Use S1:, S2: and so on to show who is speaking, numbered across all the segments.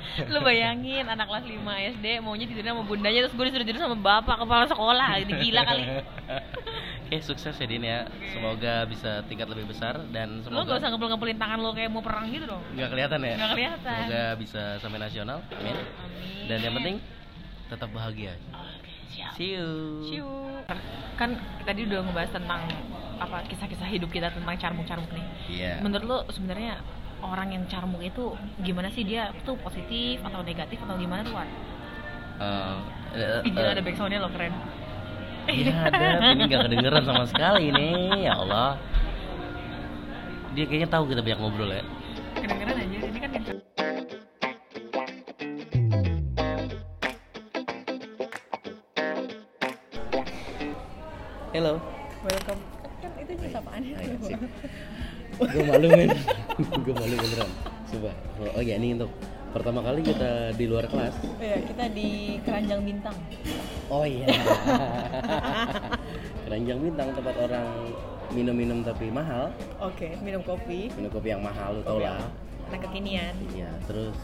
S1: lu bayangin anak kelas 5 SD maunya tidur sama bundanya terus gue disuruh tidur sama bapak kepala sekolah gitu gila kali
S2: Oke, sukses ya Din ya. Semoga bisa tingkat lebih besar dan
S1: lu
S2: semoga
S1: gak usah ngepul-ngepulin tangan lu kayak mau perang gitu dong
S2: nggak kelihatan ya.
S1: Nggak kelihatan.
S2: Semoga bisa sampai nasional. Amin.
S1: Amin.
S2: Dan yang penting tetap bahagia.
S1: siap
S2: See you.
S1: Ciu. kan tadi udah ngebahas tentang apa kisah-kisah hidup kita tentang carmuk-carmuk nih
S2: Iya.
S1: menurut lu sebenarnya orang yang carmuk itu gimana sih dia tuh positif atau negatif atau gimana tuh Wan?
S2: Eh, eh,
S1: Ih, gila
S2: eh,
S1: ada backsoundnya lo keren
S2: Ya ada, ini nggak kedengeran sama sekali nih, ya Allah. Dia kayaknya tahu kita banyak ngobrol ya.
S1: kedengeran aja ini kan kenceng
S2: Hello.
S1: welcome kan itu juga apaan
S2: Gue malu men, gue malu beneran. Coba, oh ya ini untuk pertama kali kita di luar kelas.
S1: ya kita di keranjang bintang
S2: Oh iya. Keranjang bintang tempat orang minum-minum tapi mahal,
S1: oke minum kopi
S2: minum kopi yang mahal lu tau lah.
S1: nah kekinian
S2: Iya, terus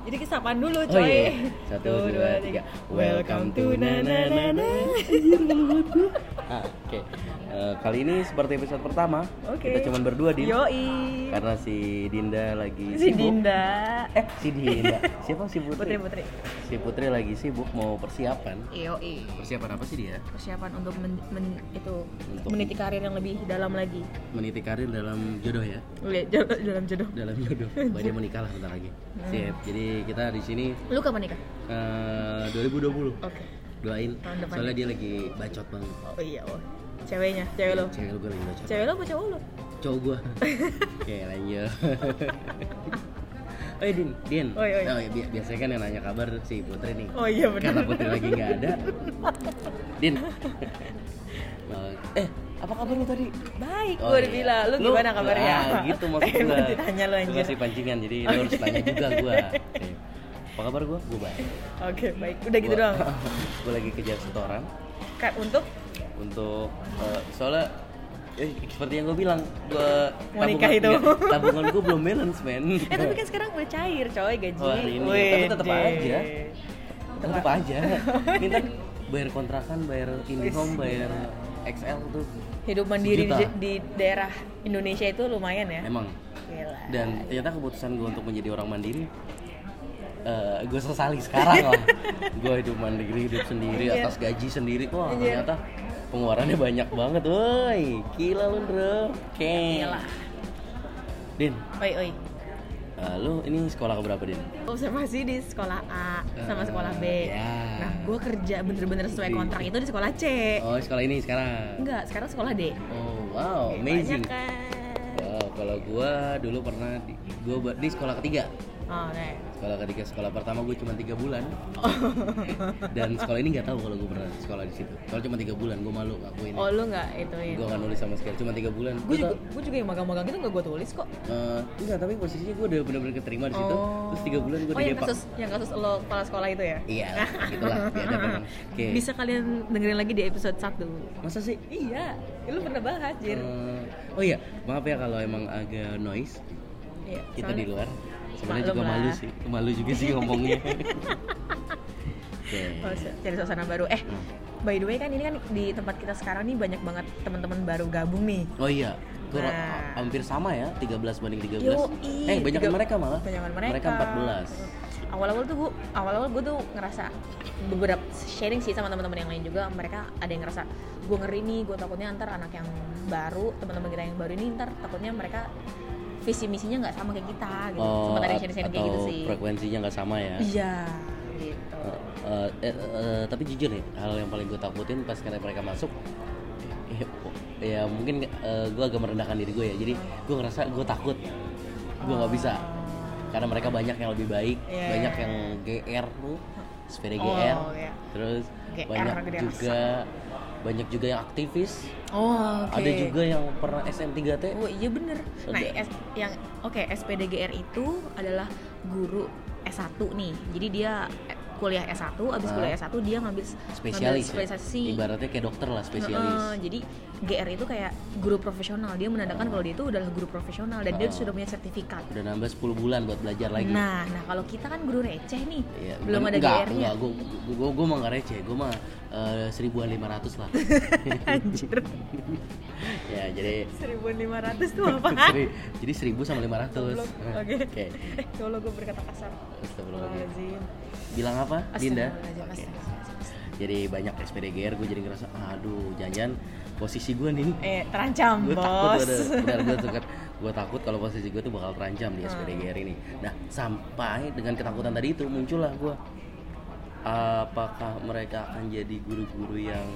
S1: jadi kisah apaan dulu
S2: Oh iya. Satu, dua, tiga. Welcome to na na na na. Anjir, malu banget gua. Ah, Oke. Eh, kali ini seperti episode pertama,
S1: Oke.
S2: kita cuman berdua Din.
S1: yoi
S2: Karena si Dinda lagi
S1: si
S2: sibuk.
S1: Dinda
S2: Eh, si Dinda. Siapa si Putri?
S1: Putri Putri
S2: Si Putri lagi sibuk mau persiapan.
S1: yoi
S2: Persiapan apa sih dia?
S1: persiapan untuk men- men- itu
S2: Untuk-
S1: meniti karir yang lebih dalam lagi
S2: Meniti karir dalam jodoh ya.
S1: Lihat jodoh dalam jodoh
S2: Dalam jodoh. Bahwa dia menikah lah bentar lagi.
S1: Hmm.
S2: Sip. Jadi kita di sini
S1: lu kapan nikah
S2: eh, 2020.
S1: oke
S2: Doain.
S1: Tahun depan.
S2: Soalnya dia lagi bacot banget.
S1: oh iya oh ceweknya cewek lo
S2: Cewek gue lagi bacot.
S1: cewek lo apa cowok lo
S2: cowok gua oke lanjut oh iya, Din Din
S1: Oi, oi.
S2: Oh, iya, bi- biasanya kan yang nanya kabar si Putri nih
S1: oh iya
S2: karena
S1: benar
S2: Putri lagi nggak ada Din Eh, eh apa kabar lu tadi
S1: baik
S2: Oh,
S1: gue
S2: iya.
S1: udah bilang lu gimana kabarnya
S2: ah, gitu maksud
S1: Eh,
S2: gua
S1: nanti tanya lu
S2: Gua
S1: anjir
S2: kasih pancingan jadi lu harus tanya juga gua Oke. apa kabar gua gua baik
S1: oke baik udah gitu
S2: Gua-
S1: doang
S2: gua lagi kejar setoran
S1: kan untuk
S2: untuk eh, soalnya eh, seperti yang gue bilang gue
S1: Mau nikah itu.
S2: tabungan gue belum balance men
S1: eh tapi kan sekarang udah cair coy gaji
S2: Iya. Wah, ini. Tapi tetep aja. tetap aja
S1: Oh, iya.
S2: minta bayar kontrakan bayar IndiHome bayar XL tuh
S1: hidup mandiri di,
S2: Sejuta.
S1: di daerah Indonesia itu lumayan ya
S2: emang Iya.
S1: Gila.
S2: dan ternyata keputusan gue untuk menjadi orang mandiri gue sesali sekarang lah gue hidup mandiri hidup sendiri
S1: Iya.
S2: atas gaji sendiri wah ternyata pengeluarannya banyak banget woi gila lu bro oke
S1: Gila.
S2: Din,
S1: oi oi
S2: Eh, lu ini sekolah keberapa din?
S1: observasi di sekolah A sama
S2: Eh, Iya.
S1: sekolah B
S2: ya.
S1: nah gue kerja bener-bener sesuai
S2: Di-
S1: kontrak itu di sekolah C
S2: Oh sekolah ini sekarang.
S1: enggak sekarang sekolah D
S2: Oh wow
S1: banyak
S2: amazing.
S1: kan
S2: Wow kalau gua dulu pernah di, gua buat di sekolah ketiga.
S1: oh, oke
S2: Sekolah ketiga sekolah pertama gue cuma tiga bulan. Dan sekolah ini nggak tahu kalau gue pernah sekolah di situ. Kalau cuma tiga bulan gue malu aku ini.
S1: oh lu nggak ituin
S2: Gue nggak nulis sama sekali cuma tiga bulan.
S1: gue
S2: Gua
S1: juga
S2: tau-
S1: gue juga yang magang-magang itu nggak gue tulis kok
S2: eh, enggak tapi posisinya gue udah benar-benar keterima di situ. Terus tiga bulan gue
S1: oh yang
S2: didepak.
S1: kasus yang kasus lo kepala sekolah itu ya
S2: Iya, gitulah. Dia ada memang. Oke.
S1: bisa kalian dengerin lagi di episode 1
S2: Masa sih?
S1: iya lu pernah bahas jir
S2: Eh, oh iya, maaf ya kalau emang agak noise
S1: Iya,
S2: kita
S1: soalnya-
S2: di luar. Sebenarnya
S1: Maklum
S2: juga malu
S1: lah.
S2: sih, malu juga sih ngomongnya. Oke.
S1: Oh, su- cari suasana baru. Eh,
S2: Hmm.
S1: by the way kan ini kan di tempat kita sekarang nih banyak banget teman-teman baru gabung nih.
S2: Oh iya, kurang
S1: Nah.
S2: hampir sama ya, 13 banding 13.
S1: Yoi,
S2: eh, banyak
S1: tiga-
S2: mereka malah.
S1: Banyakan mereka. Gitu.
S2: Mereka 14.
S1: Awal-awal tuh gue, awal-awal gue tuh ngerasa beberapa sharing sih sama teman-teman yang lain juga. Mereka ada yang ngerasa gue ngeri nih, gue takutnya ntar anak yang baru, teman-teman kita yang baru ini ntar takutnya mereka visi misinya nggak sama kayak kita gitu.
S2: Oh,
S1: Sempat ada yang
S2: at-
S1: sharing-sharing
S2: atau
S1: kayak gitu sih.
S2: frekuensinya nggak sama ya.
S1: Iya, gitu.
S2: Eh, eh, eh, tapi jujur nih, hal yang paling gue takutin pas karena mereka masuk ya, ya mungkin gue agak merendahkan diri gue ya jadi gue ngerasa gue takut gue nggak bisa karena mereka banyak yang lebih baik
S1: Iya.
S2: banyak yang gr tuh sepeda
S1: Oh,
S2: gr
S1: iya.
S2: terus
S1: GR
S2: banyak
S1: gede
S2: juga banyak juga yang aktivis
S1: Oh, oke.
S2: ada juga yang pernah sm 3 t
S1: Oh iya bener.
S2: Ada.
S1: Nah S- yang oke SPDGR itu adalah guru S1 nih. Jadi dia eh, kuliah S1 abis
S2: Ah.
S1: kuliah S1 dia ngambil
S2: spesialis
S1: ngambil
S2: ya?
S1: spesialisasi
S2: ibaratnya kayak dokter lah spesialis
S1: Heeh, jadi GR itu kayak guru profesional dia menandakan kalau dia itu adalah guru profesional dan dia
S2: Heeh.
S1: sudah punya sertifikat
S2: udah nambah 10 bulan buat belajar Ah. lagi
S1: nah nah kalau kita kan guru receh nih
S2: Iya,
S1: belum
S2: bukan-
S1: ada
S2: enggak,
S1: GR-nya
S2: enggak, gue gue gue mah nggak receh, gue mah seribuan lima ratus lah.
S1: anjir
S2: ya jadi
S1: 1500 tuh apa?
S2: seri- jadi seribu sama lima ratus.
S1: Goblok, oke.
S2: Oke.
S1: ya Allah gue berkata kasar
S2: Astagfirullahaladzim.
S1: Astagfirullahaladzim
S2: Bilang apa, Dinda?
S1: Astagfirullahaladzim,
S2: Oke.
S1: astagfirullahaladzim.
S2: Jadi banyak SPDGR, gue jadi ngerasa, aduh, jangan posisi gue nih.
S1: Eh, terancam,
S2: Gue takut
S1: bos.
S2: ada, benar gue takut, gue takut kalau posisi gue tuh bakal terancam di
S1: Ah.
S2: SPDGR ini. Nah, sampai dengan ketakutan tadi itu muncullah gue. Apakah mereka akan jadi guru-guru yang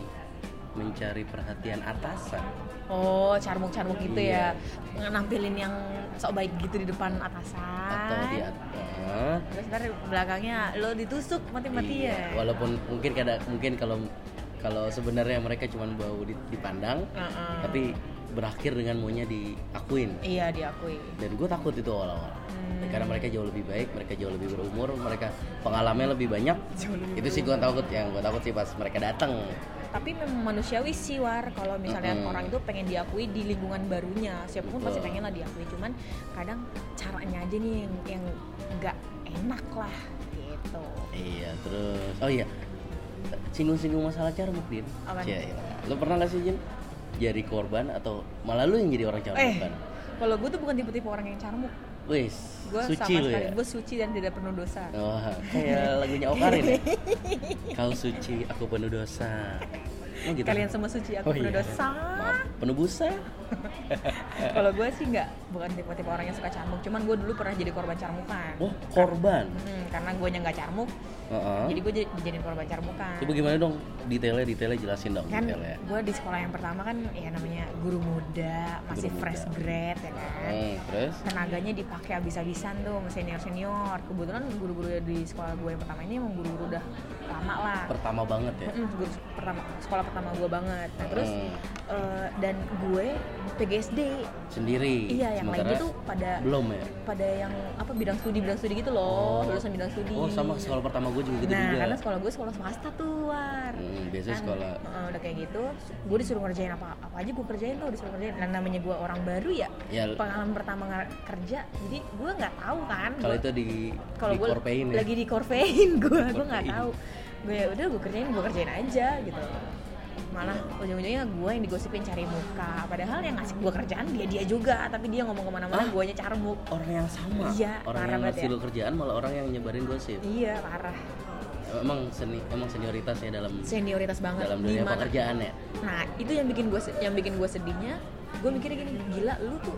S2: mencari perhatian atasan?
S1: Oh, carmuk-carmuk gitu
S2: Iya.
S1: ya. Nampilin yang sok baik gitu di depan
S2: Atau di
S1: atasan.
S2: atas?
S1: Terus ntar belakangnya lo ditusuk mati-mati
S2: Iya,
S1: ya.
S2: Walaupun mungkin kada mungkin kalau kalau sebenarnya mereka cuma bau di- dipandang,
S1: Heeh.
S2: tapi berakhir dengan maunya diakuin.
S1: Iya, diakui.
S2: Dan gue takut itu awal-awal.
S1: Hmm.
S2: Karena mereka jauh lebih baik, mereka jauh lebih berumur, mereka pengalamannya lebih banyak.
S1: Jauh lebih
S2: itu sih gue takut yang gue takut sih pas mereka datang.
S1: Tapi memang manusiawi sih war kalau misalnya
S2: Mm-mm.
S1: orang itu pengen diakui di lingkungan barunya. Siapapun pasti
S2: Betul.
S1: pengen lah diakui, cuman kadang caranya aja nih yang yang nggak enak lah gitu.
S2: Iya, terus oh iya. Singgung-singgung masalah carmuk, Din.
S1: Apaan?
S2: Cie, Lu pernah gak sih, Jin? Jadi korban atau malah lu yang jadi orang
S1: Eh,
S2: carmukan?
S1: kalau gue tuh bukan tipe-tipe orang yang carmuk.
S2: Wis,
S1: Gue sama
S2: suci lu
S1: sekali,
S2: ya.
S1: gue suci dan tidak penuh dosa.
S2: Wah, kayak lagunya Okarin ya? Kau suci, aku penuh dosa Oh gitu?
S1: Kalian semua suci, aku
S2: Oh,
S1: penuh
S2: iya.
S1: dosa.
S2: Maaf, penuh busa?
S1: Kalau gue sih nggak, bukan tipe-tipe orang yang suka carmuk. Cuman gue dulu pernah jadi korban carmukan.
S2: Oh, korban?
S1: Hmm, karena gue nya nggak carmuk,
S2: Heeh.
S1: jadi gue jadi dijadiin korban carmukan.
S2: Coba gimana dong? Detailnya, detailnya jelasin dong
S1: kan
S2: detailnya
S1: gue di sekolah yang pertama kan ya namanya guru muda masih
S2: Guru muda.
S1: fresh grad ya kan
S2: Hmm, terus?
S1: tenaganya dipakai abis-abisan tuh sama senior-senior kebetulan guru-guru di sekolah gue yang pertama ini emang guru-guru udah lama lah
S2: Pertama banget ya?
S1: Mm, guru pertama sekolah pertama gue banget nah terus
S2: Hmm.
S1: eh, dan gue PGSD
S2: Sendiri?
S1: iya yang lainnya
S2: Sementara
S1: tuh pada
S2: Belum ya?
S1: pada yang apa bidang studi bidang studi gitu loh
S2: Oh.
S1: lulusan bidang studi
S2: Oh, sama sekolah pertama gue juga gitu
S1: nah
S2: juga
S1: karena sekolah gue sekolah swasta tuh war
S2: Hmm, Biasanya
S1: Kan,
S2: sekolah
S1: eh, udah kayak gitu gue disuruh ngerjain apa apa aja gue kerjain tuh disuruh kerjain nah, namanya gue orang baru ya
S2: Ya,
S1: pengalaman pertama ngar- kerja jadi gue nggak tahu kan
S2: kalau
S1: Gua-
S2: itu di
S1: kalau gue
S2: dikorpein ya?
S1: lagi di korpein gue gue nggak
S2: Dikorpein.
S1: tahu gue ya udah gue kerjain gue kerjain aja gitu malah ujung-ujungnya gue yang digosipin cari muka padahal yang ngasih gue kerjaan dia dia juga tapi dia ngomong kemana-mana
S2: Ah.
S1: gue nya carmuk
S2: Orang yang sama?
S1: Iya,
S2: Orang
S1: parah
S2: yang
S1: banget
S2: ngasih
S1: ya.
S2: lu kerjaan malah orang yang nyebarin gosip?
S1: iya parah
S2: Emang seni, emang senioritas ya dalam
S1: senioritas banget
S2: dalam dunia
S1: Gimana-
S2: pekerjaan ya?
S1: Nah, itu yang bikin gue yang bikin gue sedihnya. Gue mikirnya gini, gila lu tuh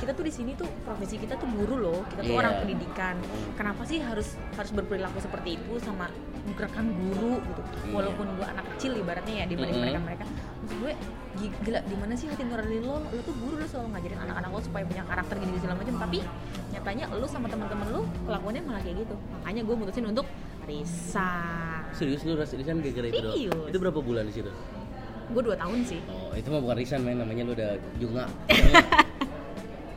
S1: kita tuh di sini tuh profesi kita tuh guru loh, kita tuh
S2: Iya. Hmm.
S1: orang pendidikan. Kenapa sih harus harus berperilaku seperti itu sama rekan guru gitu?
S2: Iya. Hmm.
S1: Walaupun gue anak kecil ibaratnya ya dibanding
S2: Mm-mm.
S1: mereka mereka. Maksud gue gi- gila di mana sih hati nurani lo? Lo tuh guru lo selalu ngajarin anak-anak lo supaya punya karakter gini-gini segala macam. Tapi nyatanya lo sama teman-teman lo kelakuannya malah kayak gitu. Makanya gue mutusin untuk resign.
S2: Serius lu ras resign gara-gara itu doang?
S1: Serius.
S2: Itu berapa bulan di situ?
S1: Gue dua tahun sih.
S2: Oh, itu mah bukan resign main namanya lu udah jengak.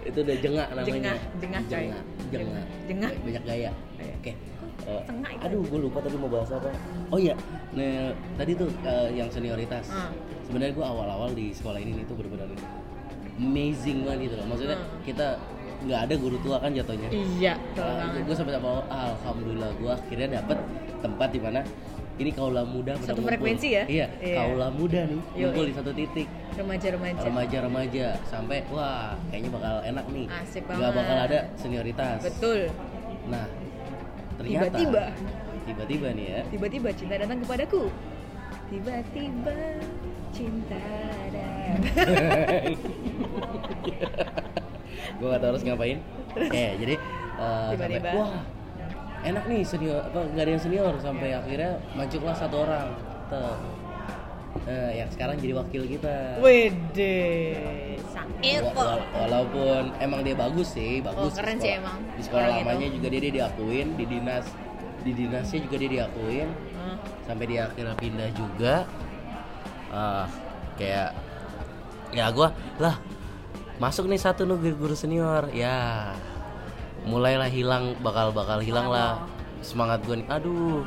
S2: itu udah jengak namanya.
S1: Jengah, jengah, coy.
S2: Jengak, jengak.
S1: Jengah.
S2: Banyak gaya. Oke. Eh,
S1: Tengah itu
S2: aduh, gue lupa tadi mau bahas apa. Oh iya, nah, tadi tuh eh, yang senioritas.
S1: Hmm.
S2: Sebenarnya gue awal-awal di sekolah ini itu benar-benar amazing banget gitu loh. Maksudnya
S1: Hmm.
S2: kita nggak ada guru tua kan jatuhnya.
S1: Iya,
S2: gue Ah, sampai sama alhamdulillah gue akhirnya dapet tempat di mana ini kaulah muda pada
S1: Satu
S2: ngumpul.
S1: frekuensi ya?
S2: iya,
S1: Iya.
S2: kaulah muda nih
S1: Yoi.
S2: ngumpul di satu titik
S1: Remaja-remaja.
S2: remaja-remaja sampai wah kayaknya bakal enak nih
S1: Asik
S2: nggak
S1: banget.
S2: bakal ada senioritas
S1: Betul.
S2: nah ternyata
S1: Tiba-tiba.
S2: tiba-tiba nih ya
S1: Tiba-tiba cinta datang kepadaku. Tiba-tiba cinta datang.
S2: gue gak tau harus ngapain ya jadi eh, sampai
S1: Tiba-tiba.
S2: wah enak nih senior apa nggak ada yang senior sampai
S1: Iya.
S2: akhirnya majulah satu orang tuh Eh, yang sekarang jadi wakil kita
S1: Wede. Sang
S2: Wa-
S1: Eko.
S2: wa- Iya, walaupun emang dia bagus sih
S1: Oh,
S2: bagus
S1: Iya, keren
S2: di
S1: sih
S2: sekolah-
S1: emang.
S2: di sekolah
S1: Orang gitu. itu.
S2: lamanya juga dia, dia diakuin di dinas di dinasnya juga dia diakuin
S1: Hmm.
S2: sampai dia akhirnya pindah juga Ah, kayak ya gua lah masuk nih satu nih guru- guru senior ya mulailah hilang bakal bakal hilang lah semangat gue nih aduh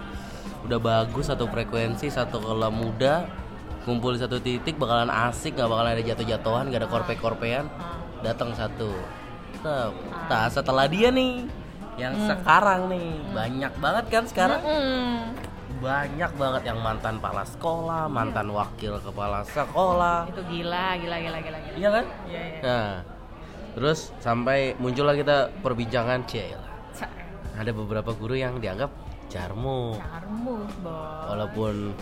S2: udah bagus satu frekuensi satu kalau muda kumpul di satu titik bakalan asik nggak bakalan ada jatuh-jatuhan nggak ada korpe-korpean datang satu Tetep. nah setelah dia nih yang sekarang nih banyak banget kan sekarang
S1: Mm-mm.
S2: banyak banget yang mantan kepala sekolah mantan wakil kepala sekolah
S1: itu gila gila gila gila gila
S2: iya kan
S1: Iya, iya.
S2: Nah, terus sampai muncullah kita perbincangan Cila.
S1: Sa-
S2: Ada beberapa guru yang dianggap carmo,
S1: Carmus, Bo.
S2: walaupun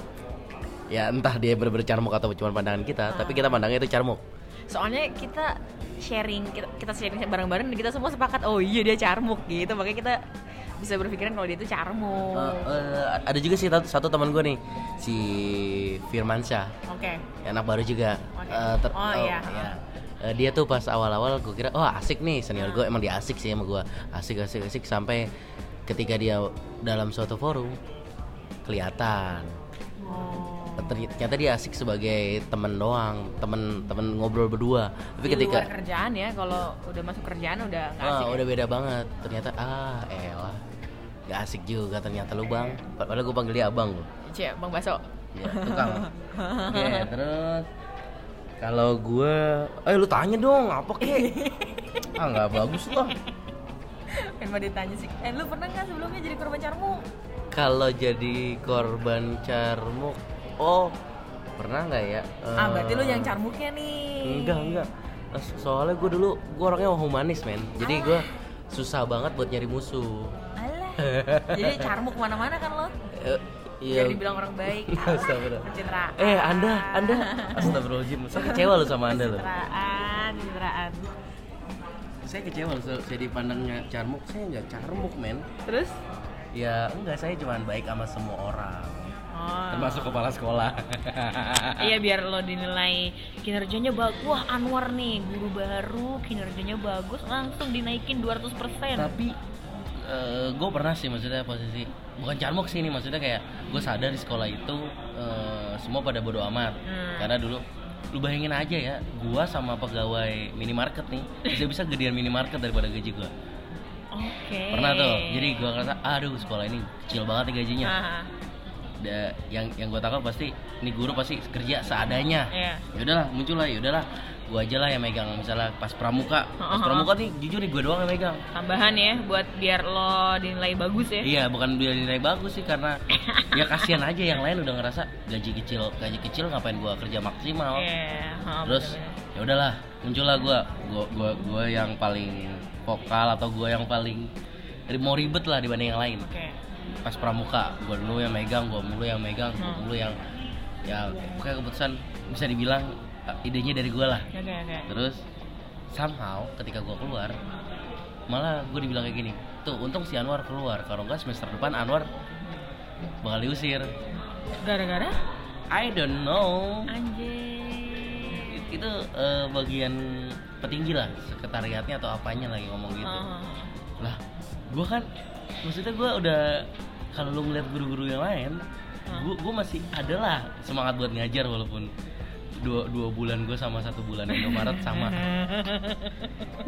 S2: ya entah dia bener-bener carmuk atau cuma pandangan kita, tapi kita pandangnya itu carmuk.
S1: soalnya kita sharing kita, kita sharing bareng-bareng dan kita semua sepakat oh iya dia carmuk gitu makanya kita bisa berpikiran kalau dia itu carmuk
S2: Eh, eh, ada juga sih satu, satu teman gue nih, si Firmansyah,
S1: oke
S2: anak baru juga.
S1: Oke.
S2: Eh, ter-
S1: Oh,
S2: eh,
S1: iya.
S2: iya. Eh, dia tuh pas awal-awal gue kira, oh asik nih senior
S1: Ah.
S2: gue emang dia asik sih sama gue, asik asik asik sampai ketika dia dalam suatu forum kelihatan
S1: oh.
S2: Ter- ternyata dia asik sebagai temen doang temen temen ngobrol berdua tapi
S1: Di
S2: ketika
S1: luar kerjaan ya kalau udah masuk kerjaan udah nggak asik ya?
S2: ah, udah beda banget ternyata ah elah gak asik juga ternyata lu bang padahal gue panggil dia abang lo
S1: Cie, bang baso
S2: ya tukang oke terus kalau gue eh lu tanya dong apa kek ah nggak bagus loh
S1: emang ditanya sih eh lu pernah nggak sebelumnya jadi korban carmuk
S2: kalau jadi korban carmuk oh pernah nggak ya
S1: ah berarti lu
S2: Eh,
S1: yang carmuknya nih
S2: Enggak, enggak. Nah, So- Soalnya gue dulu, gue orangnya humanis, men. Jadi
S1: Ah.
S2: gue susah banget buat nyari musuh.
S1: alah jadi carmuk kemana-mana kan lo
S2: Eh,
S1: Biar
S2: Iya.
S1: dibilang orang baik
S2: Astagfirullah.
S1: pencitraan
S2: Eh, Anda, Anda. Astagfirullahaladzim, saya kecewa loh sama Anda loh.
S1: pencitraan pencitraan
S2: Saya kecewa loh, saya saya dipandangnya carmuk. Saya nggak carmuk, men.
S1: terus
S2: Ya, enggak, saya cuma baik sama semua orang.
S1: oh.
S2: Termasuk kepala sekolah. ah.
S1: Iya biar lo dinilai kinerjanya bagus. Wah Anwar nih guru baru kinerjanya bagus langsung dinaikin 200 persen.
S2: Tapi gue pernah sih maksudnya posisi bukan carmuk sih ini maksudnya kayak gue sadar di sekolah itu eh, semua pada bodo amat
S1: Hmm.
S2: karena dulu lu bayangin aja ya gue sama pegawai minimarket nih bisa bisa gedean minimarket daripada gaji gue
S1: Oke.
S2: pernah tuh jadi gue ngerasa aduh sekolah ini kecil banget nih gajinya
S1: Eh. Ah,
S2: Da- yang yang gue tangkap pasti ini guru pasti kerja seadanya
S1: Iya.
S2: ya udahlah muncul lah ya udahlah gue aja lah yang megang misalnya pas pramuka
S1: Oh.
S2: pas pramuka nih jujur nih gue doang yang megang
S1: Tambahan ya buat biar lo dinilai bagus ya.
S2: Iya, bukan dia nilai bagus sih karena ya kasihan aja yang lain udah ngerasa gaji kecil, gaji kecil ngapain gua kerja maksimal.
S1: Iya. ah,
S2: Terus
S1: bener-bener.
S2: ya udahlah, muncullah gua. Gua gua gua yang paling vokal atau gua yang paling ri- mau ribet lah dibanding yang lain.
S1: Oke.
S2: Pas pramuka, gua dulu yang megang, gua mulu yang megang,
S1: Hmm.
S2: gua mulu yang ya pokoknya keputusan bisa dibilang eh, idenya dari gua lah.
S1: Oke oke.
S2: Terus somehow ketika gua keluar malah gue dibilang kayak gini tuh untung si Anwar keluar kalau enggak semester depan Anwar bakal diusir
S1: Gara-gara
S2: I don't know
S1: anjing.
S2: It- itu eh, bagian petinggi lah sekretariatnya atau apanya lagi ngomong gitu
S1: Ah,
S2: lah gue kan maksudnya gue udah kalau lu ngeliat guru-guru yang lain gue masih ada lah semangat buat ngajar walaupun dua, dua bulan gue sama satu bulan Indomaret sama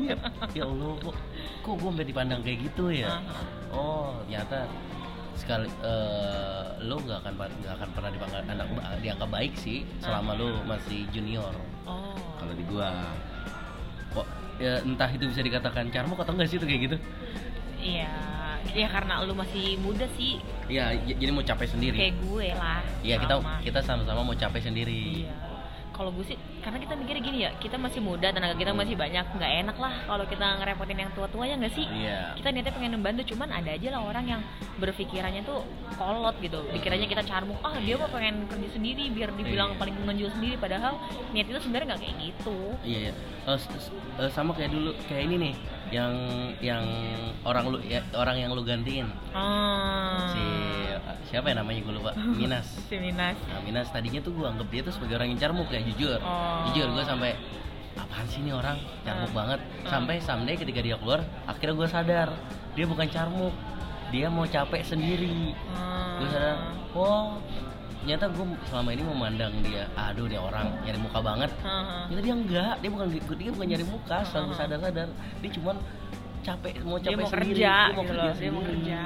S2: Iya, ya Allah kok kok gue sampai dipandang kayak gitu ya oh ternyata sekali eh, lo nggak akan nggak akan pernah dipanggil anak dianggap baik sih selama lo masih junior
S1: Oh.
S2: kalau di gua kok ya entah itu bisa dikatakan carmuk atau enggak sih itu kayak gitu
S1: Iya. Ya karena lo masih muda sih
S2: ya j- jadi mau capek sendiri
S1: kayak gue lah.
S2: Iya kita
S1: Sama.
S2: kita sama-sama mau capek sendiri
S1: Iya. Kalau gue sih, karena kita mikirnya gini ya, kita masih muda, tenaga kita masih banyak, nggak enak lah kalau kita ngerepotin yang tua-tua ya nggak sih?
S2: iya
S1: Kita niatnya pengen membantu, cuman ada aja lah orang yang berpikirannya tuh kolot gitu, pikirannya kita carmuk, ah dia mah pengen kerja sendiri biar dibilang
S2: Iya.
S1: paling menonjol sendiri, padahal niat itu sebenarnya nggak kayak gitu.
S2: iya, iya. Eh, s- s- eh, sama kayak dulu kayak ini nih yang yang orang lu ya, orang yang lu gantiin
S1: Ah,
S2: si siapa ya namanya gue lupa Minas
S1: si Minas.
S2: Nah, Minas tadinya tuh gue anggap dia tuh sebagai orang yang carmuk ya jujur.
S1: Oh. Ah.
S2: Jujur gue sampai apaan sih ini orang carmuk banget. Sampai someday ketika dia keluar, akhirnya gue sadar dia bukan carmuk. Dia mau capek sendiri.
S3: Hmm.
S2: Gue sadar, oh ternyata gue selama ini memandang dia, aduh dia orang nyari muka banget.
S1: Ah.
S2: Ternyata dia enggak, dia bukan dia bukan nyari muka, setelah gue sadar-sadar dia cuman capek mau capek
S1: Dia mau
S2: sendiri.
S1: kerja,
S2: dia mau
S1: gitu
S2: kerja
S1: loh, dia mau
S2: sendiri.
S1: kerja.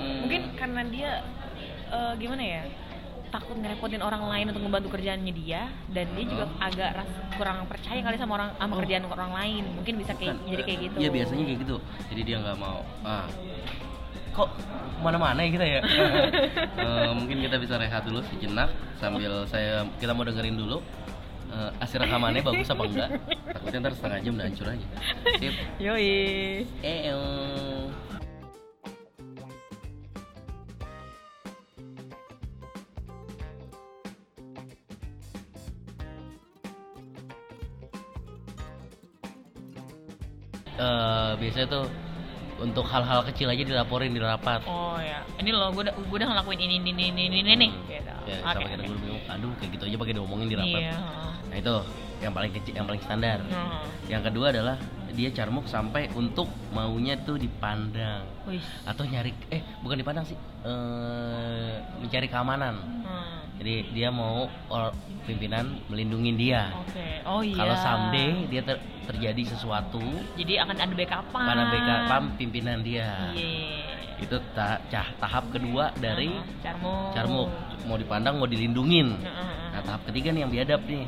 S2: Hmm.
S1: Mungkin karena dia
S3: eh, gimana ya takut ngerepotin orang lain untuk membantu kerjaannya dia dan dia juga agak ras- kurang percaya kali sama orang sama
S2: Hmm. Oh.
S3: kerjaan orang lain mungkin bisa kayak
S2: Bukan,
S3: jadi
S2: eh,
S3: kayak gitu
S2: Iya biasanya kayak gitu. Jadi dia nggak mau. Ah. Kok mana-mana ya kita ya. Eh, mungkin kita bisa rehat dulu sejenak sambil saya kita mau dengerin dulu eh hasil rekamannya bagus apa enggak. Takutnya ntar setengah jam udah hancur aja. Sip.
S3: yoi
S2: Eong. Eh, biasanya tuh untuk hal-hal kecil aja dilaporin di rapat.
S3: oh ya ini loh gue udah gue udah ngelakuin ini ini ini ini ini nih gitu
S2: Ya,
S3: oke
S2: sama kita
S3: oke.
S2: dulu bingung, aduh kayak gitu aja pakai diomongin di rapat.
S3: iya Hmm. heeh.
S2: Nah itu yang paling kecil, yang paling standar.
S3: Heeh.
S2: Yang kedua adalah dia carmuk sampai untuk maunya tuh dipandang
S3: Wih.
S2: atau nyari eh bukan dipandang sih eh mencari keamanan.
S3: Hmm.
S2: Jadi dia mau or- pimpinan melindungi dia.
S3: oke oh iya
S2: Kalau someday dia ter- terjadi sesuatu
S3: jadi akan ada backupan
S2: karena BKPAM pimpinan dia.
S3: iya
S2: Itu ta- cah- tahap kedua Nah, dari
S3: Heeh, carmuk
S2: carmuk mau dipandang mau dilindungin.
S3: Heeh, heeh.
S2: Nah tahap ketiga nih yang biadab nih.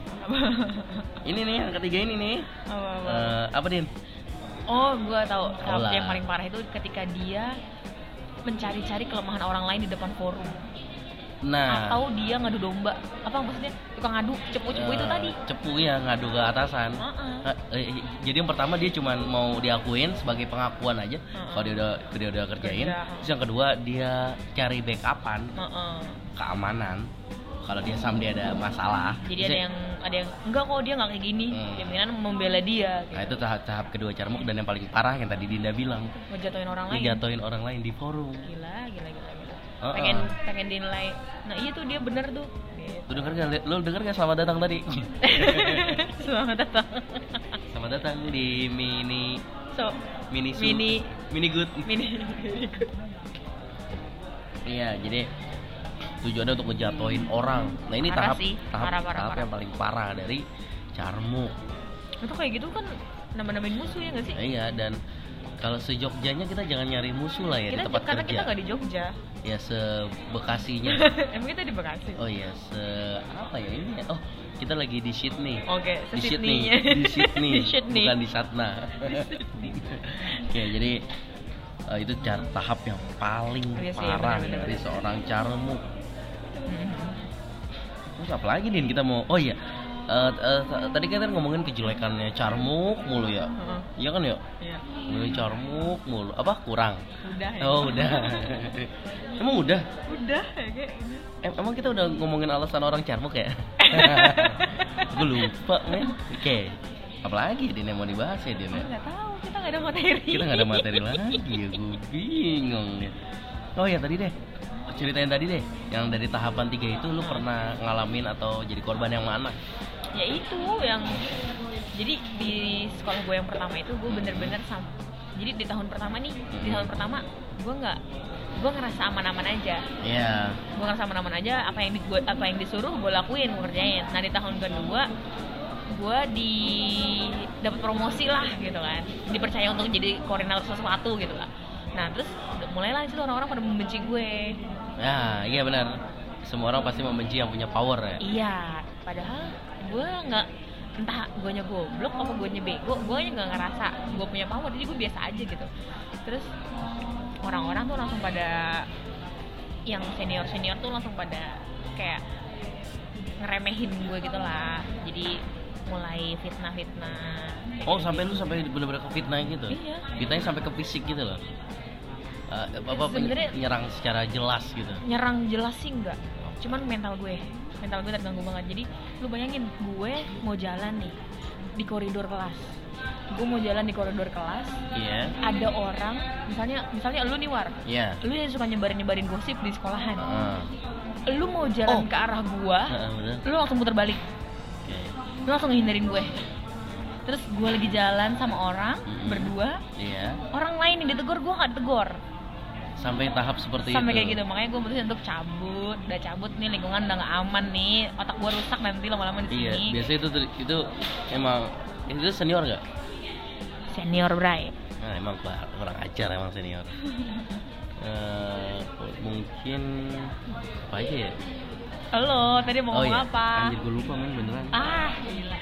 S2: Ini nih yang ketiga ini nih.
S3: Apa, apa.
S2: Eh, apa din?
S3: Oh, gua tahu.
S2: Tahu lah.
S3: Tapi yang paling parah itu ketika dia mencari-cari kelemahan orang lain di depan forum
S2: Nah.
S3: atau dia ngadu domba. Apa maksudnya? Tukang ngadu, cepu-cepu itu
S2: eh,
S3: tadi.
S2: Cepu ya ngadu ke atasan.
S3: Heeh.
S2: Eh, eh, jadi yang pertama dia cuman mau diakuin sebagai pengakuan aja
S3: Heeh.
S2: kalau dia udah dia udah kerjain.
S3: Kerja.
S2: Terus yang kedua dia cari backupan
S3: Heeh.
S2: keamanan kalau dia sampai ada masalah.
S3: Jadi
S2: Terus
S3: ada
S2: ya-
S3: yang ada yang enggak kok dia nggak kayak gini.
S2: Hmm.
S3: Jaminan membela dia.
S2: Nah
S3: Gitu.
S2: itu tahap, tahap kedua carmuk dan yang paling parah yang tadi Dinda bilang
S3: Ngejatuhin orang lain.
S2: dia jatuhin orang lain di forum.
S3: Gila, gila, gila, gila.
S2: Heeh.
S3: Pengen pengen dinilai. Nah, iya tuh dia bener tuh. Gitu.
S2: Lu denger gak? Lu denger gak selamat datang tadi?
S3: Selamat datang.
S2: selamat datang di mini
S3: So,
S2: mini su-
S3: Mini-
S2: mini good.
S3: mini
S2: Iya, jadi tujuannya untuk ngejatuhin orang. Nah ini
S3: Parah
S2: tahap
S3: sih.
S2: tahap,
S3: Parah, parah,
S2: tahap
S3: parah.
S2: yang paling parah dari carmuk.
S3: Itu kayak gitu kan nambah-nambahin musuh ya nggak sih?
S2: Nah, iya dan kalau sejogjanya kita jangan nyari musuh lah ya
S3: kita
S2: di tempat
S3: karena
S2: kerja.
S3: kita nggak di Jogja
S2: Ya sebekasinya.
S3: emang kita di Bekasi
S2: oh iya se apa ya ini? ya? Oh kita lagi di Sydney.
S3: oke
S2: di
S3: se
S2: Sydney,
S3: Sydney-nya.
S2: di Sydney,
S3: Oh, di Sydney
S2: bukan di Satna. Oke, jadi eh, itu car- tahap yang paling
S3: Iya sih,
S2: parah
S3: benar-benar.
S2: dari seorang carmuk.
S3: Mhm.
S2: Terus apa lagi Din kita mau? Oh iya. Eh, eh, t- tadi kan ngomongin kejelekannya Carmuk mulu ya.
S3: Heeh,
S2: Iya kan ya?
S3: Mm-hmm. iya.
S2: Ngomongin Carmuk mulu. Apa kurang?
S3: udah ya
S2: Oh udah. Emang udah?
S3: udah ya kayak ini.
S2: Em- emang kita udah ngomongin alasan orang Carmuk ya? Gue lupa men. Oke. Apalagi Din yang mau dibahas ya Din ya?
S3: nggak tahu kita nggak ada materi
S2: Kita nggak ada materi lagi ya. Gue bingung ya. Oh ya tadi deh ceritain tadi deh yang dari tahapan tiga itu lu pernah ngalamin atau jadi korban yang mana?
S3: ya itu yang jadi di sekolah gue yang pertama itu gue bener-bener sam jadi di tahun pertama nih di
S2: Mm-hmm.
S3: tahun pertama gue nggak gue ngerasa aman-aman aja
S2: Iya.
S3: gue ngerasa aman-aman aja apa yang di, gua- apa yang disuruh gue lakuin gue kerjain nah di tahun kedua gue di dapat promosi lah gitu kan dipercaya untuk jadi koordinator sesuatu gitu lah nah terus mulailah itu orang-orang pada membenci gue
S2: Ya, iya benar. Semua orang pasti membenci yang punya power ya.
S3: iya padahal gue nggak entah gue nya goblok apa gue nya bego gue nya nggak ngerasa gue punya power jadi gue biasa aja gitu terus orang-orang tuh langsung pada yang senior senior tuh langsung pada kayak ngeremehin gue gitu lah jadi mulai fitnah fitnah
S2: Oh, sampai lu sampai bener-bener ke fitnah gitu.
S3: Iya.
S2: Fitnahnya sampai ke fisik gitu loh. Eh, apa
S3: Sebenarnya-
S2: nyerang secara jelas gitu.
S3: nyerang jelas sih enggak cuman mental gue mental gue terganggu banget jadi lu bayangin gue mau jalan nih di koridor kelas gue mau jalan di koridor kelas
S2: Iya.
S3: ada orang misalnya misalnya lu nih war
S2: Iya.
S3: lu yang suka nyebarin nyebarin gosip di sekolahan
S2: Heeh.
S3: lu mau
S2: Oh.
S3: jalan ke arah gua
S2: Heeh, bener.
S3: lu langsung putar balik
S2: Oke.
S3: lu langsung hindarin gue terus gue lagi jalan sama orang
S2: Mm-mm.
S3: berdua
S2: Iya.
S3: orang lain yang ditegur gue nggak tegur
S2: Sampai tahap seperti
S3: sampai
S2: itu.
S3: kayak gitu makanya gue mutusin untuk cabut udah cabut nih lingkungan udah nggak aman nih otak gue rusak nanti lama-lama di sini
S2: Iya, biasanya itu itu emang itu senior gak?
S3: senior bray
S2: Nah, emang kurang kurang ajar emang senior. Eh, mungkin apa aja ya?
S3: Lo tadi mau ngomong
S2: iya.
S3: apa?
S2: Anjir gue lupa men beneran.
S3: Ah, gila.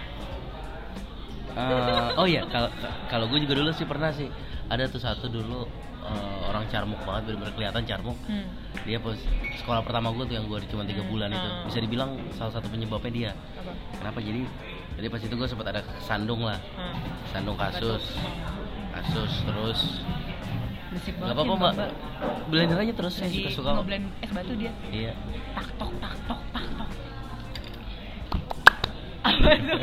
S2: Eh, oh iya, kalau kalau gue juga dulu sih pernah sih ada tuh satu dulu eh, orang carmuk banget bener-bener kelihatan carmuk.
S3: Hmm.
S2: Dia pas sekolah pertama gue tuh yang gue cuma tiga
S3: Hmm.
S2: bulan itu
S3: Ah.
S2: bisa dibilang salah satu penyebabnya dia.
S3: Apa?
S2: Kenapa jadi? Jadi pas itu gue sempat ada sandung lah,
S3: Hmm.
S2: sandung kasus, kasus terus
S3: Berisik banget
S2: nggak apa-apa
S3: sih,
S2: mbak, blender aja terus saya
S3: Lagi
S2: suka suka. kok.
S3: ngeblend es batu dia.
S2: Iya.
S3: Tak tok tak tok tak tok. Apa tuh?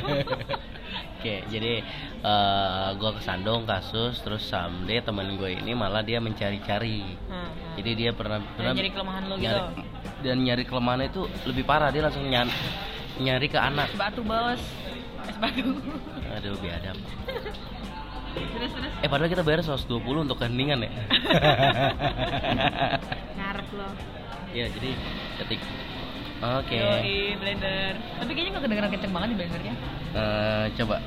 S2: Oke, jadi eh, gue kesandung kasus, terus someday temen gue ini malah dia mencari-cari.
S3: Hmm, hmm.
S2: Jadi dia pernah pernah
S3: nyari kelemahan lo gitu.
S2: nyari- Dan nyari kelemahannya itu lebih parah, dia langsung nyan- nyari ke anak.
S3: Es batu bos. Es batu.
S2: Aduh, biadab.
S3: terus terus
S2: Eh padahal kita bayar 120 untuk keheningan ya.
S3: ngarep lo.
S2: Iya, jadi ketik. Oke.
S3: Yoi, blender. Tapi kayaknya nggak kedengeran kenceng banget di blendernya.
S2: Eh, coba.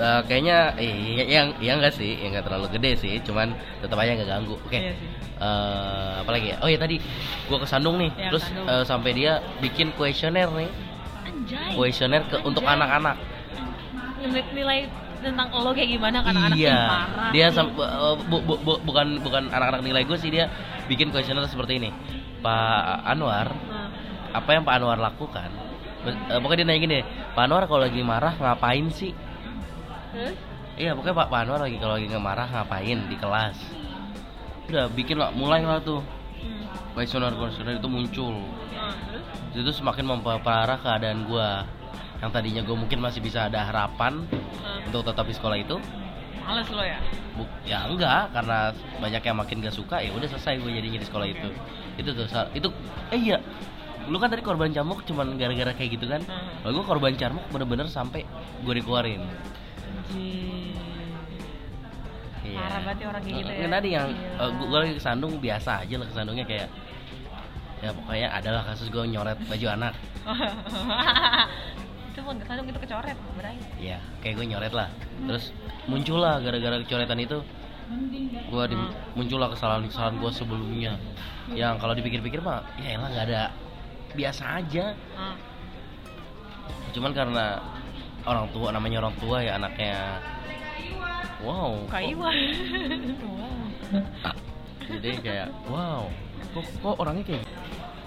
S2: Eh, kayaknya eh, yang yang enggak sih, yang enggak terlalu gede sih, cuman tetap aja nggak ganggu. Oke.
S3: Iya sih.
S2: Eh, apa lagi ya? Oh ya tadi gua kesandung nih.
S3: Ya,
S2: terus
S3: kesandung. Iya.
S2: eh, sampai dia bikin kuesioner nih.
S3: Anjay.
S2: Kuesioner ke untuk
S3: Anjay.
S2: anak-anak.
S3: Nilai, nilai tentang lo kayak gimana kan anak-anak
S2: iya.
S3: yang parah.
S2: Dia sam- eh, bu- bu- bu- bukan bukan anak-anak nilai gue sih dia bikin kuesioner seperti ini. Pak Anwar,
S3: Hmm.
S2: apa yang Pak Anwar lakukan? Be- eh, pokoknya dia nanya gini, Pak Anwar kalau lagi marah ngapain sih?
S3: Terus?
S2: Iya, pokoknya Pak Pak Anwar lagi kalau lagi nggak marah ngapain di kelas? Udah bikin lah, mulai lah tuh
S3: Hmm.
S2: kuesioner kuesioner itu muncul.
S3: Hmm, terus?
S2: itu semakin memperparah keadaan gua yang tadinya gue mungkin masih bisa ada harapan
S3: Hmm.
S2: untuk tetap di sekolah itu
S3: Males lo ya?
S2: Bu- ya enggak karena banyak yang makin gak suka ya udah selesai gue jadinya di sekolah itu itu tuh Sal. itu eh iya lu kan tadi korban camuk cuman gara-gara kayak gitu kan
S3: Hmm.
S2: kalau gue korban camuk bener-bener sampai gue dikeluarin Iya.
S3: Parah banget ya orang kayak gitu ya.
S2: Kan tadi yang
S3: Gila.
S2: eh, gua gue lagi kesandung biasa aja lah kesandungnya kayak ya pokoknya adalah kasus gue nyoret baju anak
S3: itu pun kesandung itu kecoret, berai.
S2: Iya, kayak gue nyoret lah. Terus muncullah gara-gara coretan itu gue di,
S3: Hmm.
S2: muncullah kesalahan-kesalahan gue sebelumnya. Yang kalau dipikir-pikir mah, ya elah nggak ada biasa aja.
S3: Hmm.
S2: Cuman karena orang tua namanya orang tua ya anaknya. Wow. kok-
S3: Kayu. Wah.
S2: Jadi kayak wow. Kok, kok orangnya kayak gini?"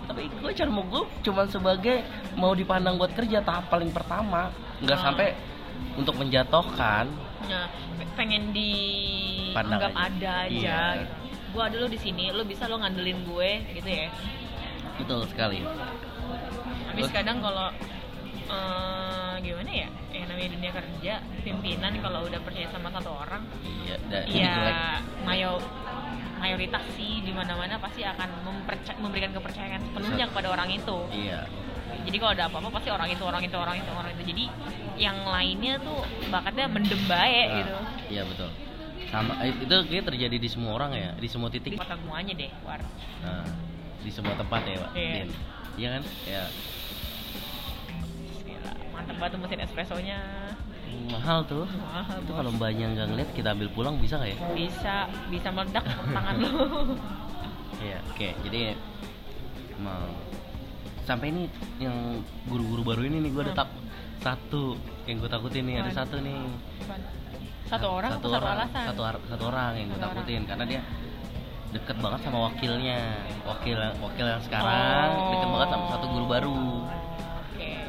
S2: tapi gue cuma gue cuman sebagai mau dipandang buat kerja tahap paling pertama nggak
S3: Hmm.
S2: sampai untuk menjatuhkan
S3: Nah, pengen
S2: Pandang
S3: dianggap
S2: aja.
S3: ada
S2: Iya.
S3: aja. gitu. Gua ada lo di sini, lo bisa lo ngandelin gue gitu ya.
S2: betul sekali
S3: Habis
S2: Terus?
S3: kadang kalau eh, gimana ya? Yang namanya dunia kerja, pimpinan kalau udah percaya sama satu orang,
S2: Iya, da- jelek.
S3: ya mayo mayoritas sih di mana-mana pasti akan memperca- memberikan kepercayaan sepenuhnya kepada orang itu.
S2: Iya.
S3: Jadi kalau ada apa-apa pasti orang itu, orang itu, orang itu, orang itu. Jadi yang lainnya tuh bakatnya mendem
S2: Nah,
S3: bae gitu.
S2: Iya betul. Sama eh, itu kayak terjadi di semua orang ya, di semua
S3: Di
S2: titik.
S3: mata guanya deh, war.
S2: Nah, di semua tempat ya, Pak.
S3: Iya.
S2: Din. Iya kan? Ya.
S3: Gila, mantep banget tuh mesin espressonya.
S2: Mahal tuh.
S3: Wah,
S2: Itu
S3: bos.
S2: kalau mbaknya nggak ngeliat kita ambil pulang bisa nggak ya?
S3: bisa bisa meledak tangan lu.
S2: Iya. Oke, jadi mau sampai ini yang guru-guru baru ini nih gue ada
S3: Hmm.
S2: tak satu yang gue takutin nih ada
S3: Waduh.
S2: satu nih
S3: Satu orang
S2: satu,
S3: satu, satu
S2: orang
S3: alasan.
S2: satu, ar- satu orang yang gue
S3: Satu orang.
S2: takutin karena dia deket banget sama wakilnya wakil wakil yang sekarang
S3: Oh.
S2: deket banget sama satu guru baru
S3: Oke.
S2: yang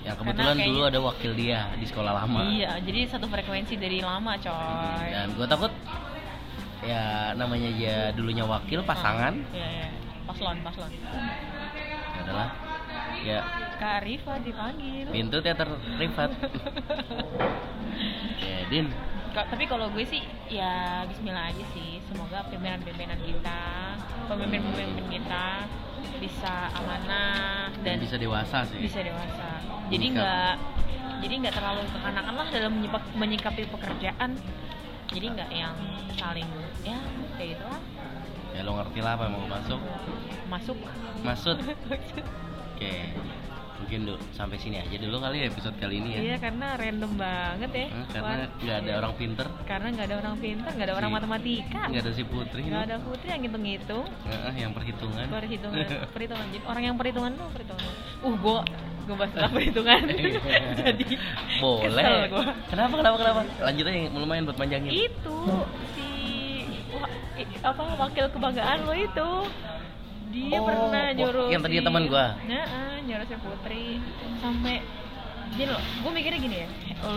S3: Karena
S2: kebetulan dulu
S3: kayaknya-
S2: ada wakil dia di sekolah lama Hmm,
S3: Iya, jadi satu frekuensi dari lama, coy.
S2: dan gue takut ya namanya aja dulunya wakil pasangan
S3: Iya, iya. Paslon, paslon.
S2: ya adalah ya
S3: Kak Rifa dipanggil.
S2: pintu teater privat ya Din
S3: Ka- tapi kalau gue sih ya bismillah aja sih semoga pimpinan-pimpinan kita pemimpin-pemimpin kita bisa amanah
S2: dan
S3: dan
S2: bisa dewasa sih
S3: bisa dewasa jadi
S2: Menyikap.
S3: nggak jadi nggak terlalu kekanakan lah dalam menyikap- menyikapi pekerjaan jadi nggak yang saling ya kayak gitu lah
S2: ya lo ngerti lah apa yang mau masuk
S3: masuk
S2: Masuk. Oke. mungkin dulu sampai sini aja dulu kali ya episode kali ini ya
S3: Iya karena random banget ya.
S2: Eh, karena
S3: Wan.
S2: nggak ada orang Iya. pinter
S3: Karena nggak ada orang pintar, nggak ada orang
S2: Si-
S3: matematika,
S2: nggak ada si putri
S3: nggak
S2: lu.
S3: ada putri yang ngitung-ngitung.
S2: Eh, eh, yang perhitungan
S3: Perhitungan, perhitungan. Jadi orang yang perhitungan tuh perhitungan. Uh, gua gua bahas tentang perhitungan.
S2: Iya.
S3: Jadi kesel
S2: boleh
S3: gua.
S2: kenapa kenapa kenapa lanjut aja lumayan buat panjangin
S3: itu si wah, i- apa wakil kebanggaan lo itu dia
S2: Oh, wah,
S3: pernah nyuruh
S2: yang tadi
S3: si-
S2: teman gua.
S3: Nah, eh, nyuruh si Putri sampai gini loh, gue mikirnya gini ya,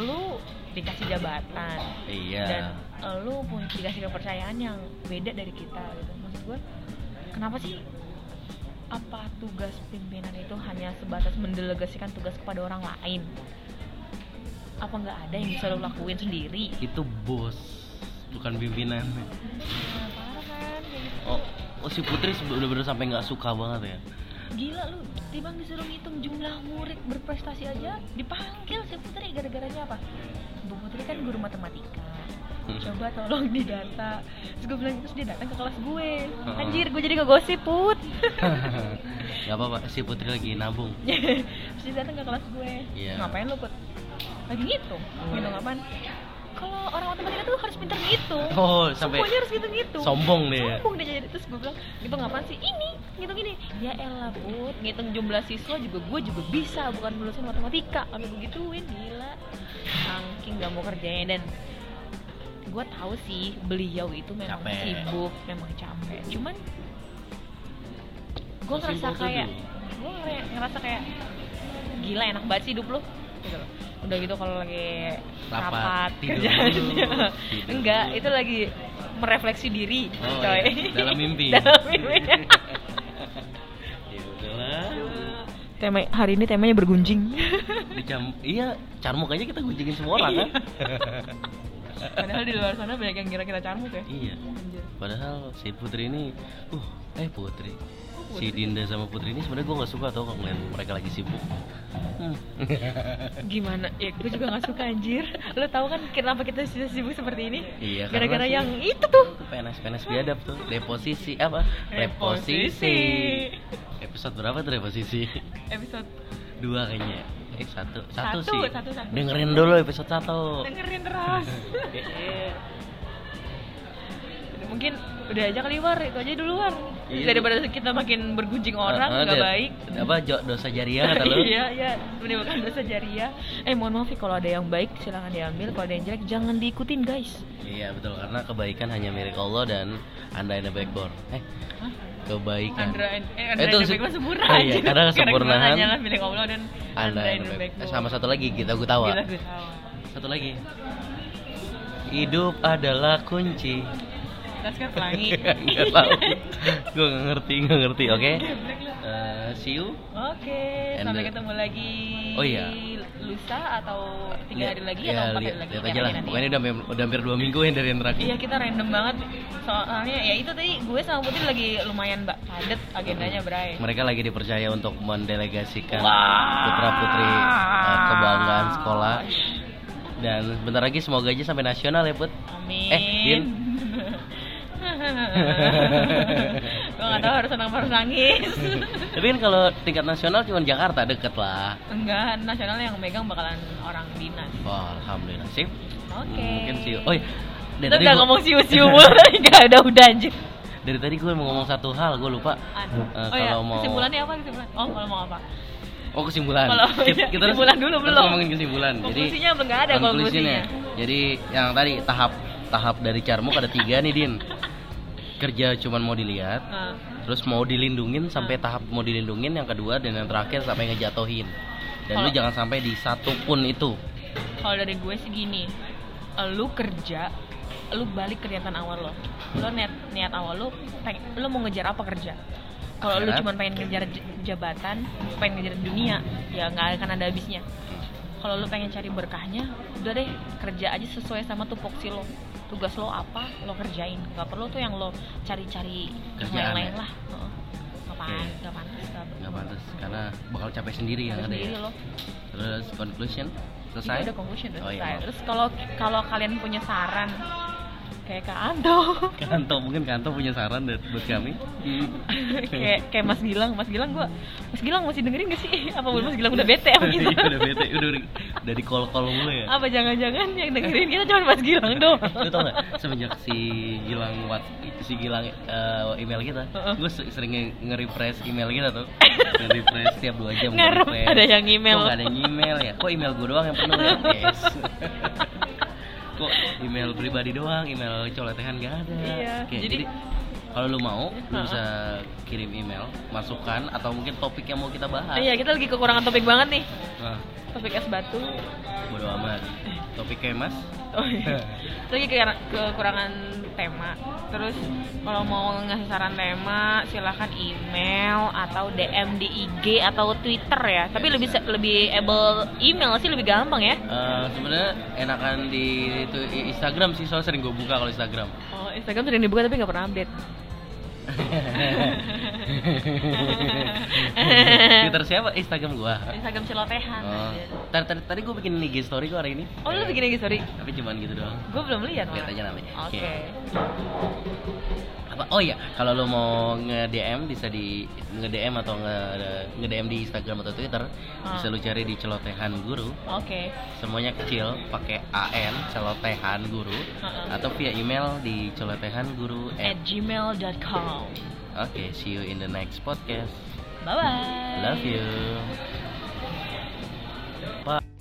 S3: lu dikasih jabatan dan eh,
S2: iya
S3: lu pun dikasih kepercayaan yang beda dari kita gitu. Maksud gue, kenapa sih apa tugas pimpinan itu hanya sebatas mendelegasikan tugas kepada orang lain? Apa nggak ada yang bisa lu lakuin sendiri?
S2: itu bos bukan pimpinan
S3: Nah, parah kan kayak gitu.
S2: oh, oh si putri bener-bener sampai nggak suka banget ya
S3: Gila lu, tiba disuruh ngitung jumlah murid berprestasi aja dipanggil si Putri gara-garanya apa? Bu Putri kan guru matematika.
S2: Hmm.
S3: Coba tolong didata. Terus gue bilang terus dia datang ke kelas gue.
S2: Heeh.
S3: Anjir, gue jadi ngegosip, Put.
S2: nggak apa-apa si putri lagi nabung
S3: terus dia datang ke kelas gue.
S2: Iya. Hmm.
S3: Ngapain lu, Put? Lagi ngitung. Ngitung apaan? Kalau orang matematika tuh harus pintar ngitung.
S2: oh sampai
S3: Semuanya harus ngitung-ngitung.
S2: sombong dia
S3: sombong dia jadi terus gue bilang ngitung apaan sih ini ngitung ini ya elah bud ngitung jumlah siswa juga gue juga bisa bukan lulusan matematika kalau begituin gila saking gak mau kerjanya dan gue tahu sih beliau itu memang
S2: Capek.
S3: sibuk memang capek cuman gue
S2: Sibuk
S3: ngerasa
S2: tuh
S3: kayak
S2: dulu.
S3: gue ngerasa kayak gila enak banget sih hidup lo gitu loh. udah gitu kalau lagi
S2: Rapat,
S3: rapat
S2: tidur
S3: kerjaannya
S2: dulu, tidur
S3: enggak
S2: dulu.
S3: itu lagi merefleksi diri
S2: Oh,
S3: coy
S2: iya. Dalam mimpi.
S3: dalam mimpi
S2: ya udahlah
S3: tema hari ini temanya bergunjing
S2: Di jam iya carmuk aja kita gunjingin semua
S3: Iya.
S2: orang kan
S3: padahal di luar sana banyak yang kira kita carmuk ya
S2: iya
S3: Anjir.
S2: padahal si putri ini uh eh putri
S3: Oh,
S2: si
S3: Putri.
S2: Dinda sama Putri ini sebenarnya gue nggak suka tau kalau ngeliat mereka lagi sibuk. Hmm.
S3: gimana ya gue juga nggak suka anjir lo tahu kan kenapa kita bisa sibuk seperti ini
S2: Iya, karena
S3: gara-gara
S2: sih-
S3: yang kan itu tuh
S2: PNS-PNS biadab tuh, deposisi apa?
S3: Reposisi.
S2: Episode berapa tuh reposisi?
S3: episode
S2: Dua kayaknya. ya? Eh satu, satu,
S3: Satu,
S2: sih.
S3: satu, satu.
S2: Dengerin dulu episode satu.
S3: dengerin terus
S2: Eh,
S3: mungkin udah aja kali war itu aja dulu war
S2: Iya.
S3: daripada kita makin bergunjing
S2: eh,
S3: orang nggak
S2: dia-
S3: baik
S2: Apa jo- dosa jariah kata lu?
S3: iya iya menimbulkan dosa jariah eh mohon maaf ya, kalau ada yang baik silahkan diambil kalau ada yang jelek jangan diikutin guys
S2: Iya betul karena kebaikan hanya milik Allah dan anda ada backbone. Eh kebaikan.
S3: Andra and eh,
S2: Eh,
S3: Andra
S2: itu
S3: and the
S2: se-
S3: Backbone sempurna
S2: Oh, iya,
S3: anjir.
S2: karena kesempurnaan.
S3: kita hanyalah milik Allah dan
S2: Anda and the Back- Eh, Sama satu lagi kita gue
S3: tawa
S2: tawa. Satu lagi. Hidup adalah kunci.
S3: Laskar Pelangi
S2: Gak tahu. gue nggak ngerti, nggak ngerti. Oke. Eh, see you.
S3: Oke,
S2: And
S3: sampai
S2: the-
S3: ketemu lagi
S2: Oh, iya.
S3: lusa atau tiga hari lagi
S2: ya,
S3: atau empat
S2: lihat,
S3: hari lagi
S2: lihat
S3: Lihat
S2: aja lah.
S3: nanti. ya.
S2: Pokoknya udah, hampir- udah hampir dua minggu yang dari yang terakhir.
S3: Iya kita random banget soalnya ya itu tadi gue sama Putri lagi lumayan mbak padet agendanya Bray.
S2: Hmm. Mereka lagi dipercaya untuk mendelegasikan
S3: Wah.
S2: putra putri kebanggaan sekolah. Dan bentar lagi semoga aja sampai nasional ya put.
S3: Amin.
S2: Eh, Din.
S3: gue gak tau harus senang apa harus nangis.
S2: Tapi kan kalau tingkat nasional cuma Jakarta deket lah.
S3: Enggak, nasional yang megang bakalan orang dinas.
S2: Wah, alhamdulillah sip.
S3: Oke.
S2: Mungkin sih. Oh iya. Dari
S3: Kita
S2: tadi,
S3: udah
S2: gua,
S3: ngomong siu-siu mulu, gak ada udah anjir.
S2: dari tadi gue mau ngomong satu hal, gue lupa.
S3: Aduh.
S2: Eh,
S3: oh iya,
S2: kalau mau-
S3: kesimpulannya apa kesimpulan? Oh, kalau mau apa?
S2: Oh kesimpulan.
S3: Kalau-
S2: Kita- kita harus-
S3: kesimpulan dulu,
S2: harus
S3: belum.
S2: ngomongin kesimpulan. Jadi
S3: Konklusinya belum nggak ada
S2: conclusionnya.
S3: konklusinya.
S2: Jadi yang tadi tahap tahap dari carmuk ada tiga nih Din. Kerja cuman mau dilihat,
S3: Nah,
S2: terus mau dilindungin sampai tahap mau dilindungin yang kedua dan yang terakhir sampai ngejatohin. Dan lu
S3: Kalau-
S2: jangan sampai di satu pun itu.
S3: kalau dari gue sih gini, lu kerja, lu balik ke niatan awal lo. Lo niat niat awal lo, peng, lo mau ngejar apa kerja? Kalau lu
S2: Akhirat.
S3: cuma pengen ngejar j- jabatan, pengen ngejar dunia, ya nggak akan ada habisnya. Kalau lu pengen cari berkahnya, udah deh kerja aja sesuai sama tupoksi lo. Tugas lo apa, lo kerjain. Gak perlu tuh yang lo cari-cari yang
S2: Kerjaan
S3: lain-lain
S2: ya?
S3: lah. Heeh. Nggak pan- nggak pantas, nggak
S2: Nggak pantas karena bakal capek sendiri yang ada
S3: sendiri
S2: ya.
S3: lo.
S2: Terus conclusion
S3: Itu
S2: selesai.
S3: udah conclusion udah
S2: Oh, iya,
S3: selesai.
S2: maaf.
S3: Terus kalau kalau kalian punya saran kayak Kak Anto
S2: Kanto mungkin Kanto punya saran deh buat kami.
S3: Hmm. kayak kayak Mas Gilang Mas Gilang gua Mas Gilang masih dengerin gak sih apa Mas Gilang udah bete apa gitu
S2: Iya, udah bete, udah udah- udah di call call mulu ya.
S3: apa jangan-jangan yang dengerin kita cuma Mas Gilang doang
S2: Lu tau gak semenjak si Gilang Wat si Gilang eh, email kita, gue sering nge- nge-refresh email kita tuh. Nge-refresh tiap 2 jam
S3: Ngarep
S2: nge-refresh.
S3: ada yang email.
S2: Kok gak ada yang email ya? Kok email gue doang yang penuh ya? Yes. Kok email pribadi doang, email coletehan gak ada.
S3: Iya,
S2: Oke, jadi,
S3: jadi-
S2: kalau lu mau, lu
S3: Heeh.
S2: bisa kirim email, masukan atau mungkin topik yang mau kita bahas.
S3: iya kita lagi kekurangan topik banget nih
S2: Nah,
S3: topik es batu
S2: bodo amat. Topiknya Mas.
S3: Oh,
S2: Eh.
S3: iya. Terus lagi ke- kekurangan tema terus kalau mau ngasih saran tema silahkan email atau DM di IG atau Twitter ya
S2: Iya,
S3: tapi lebih se- lebih able email sih lebih gampang ya
S2: Eh, sebenarnya enakan di itu Instagram sih soalnya sering gue buka kalau Instagram.
S3: oh Instagram sering dibuka tapi nggak pernah update
S2: Twitter siapa? Instagram gua.
S3: Instagram celotehan
S2: Oh.
S3: aja.
S2: Tadi tadi, tadi gue bikin IG story kok hari ini.
S3: Ah. oh lu bikin IG sorry
S2: Tapi cuman gitu doang.
S3: gue belum lihat
S2: Lihat
S3: malah.
S2: aja namanya.
S3: oke
S2: Oke. Apa? Oh iya, kalau lo mau nge-DM bisa di nge-DM atau nge- nge-DM di Instagram atau Twitter,
S3: Ah.
S2: bisa lu cari di celotehan guru.
S3: oke
S2: Semuanya kecil, pakai AN celotehan guru
S3: Heeh.
S2: atau via email di celotehan guru
S3: at gmail.com
S2: Oke, see you in the next podcast.
S3: bye bye
S2: Love you. Bye.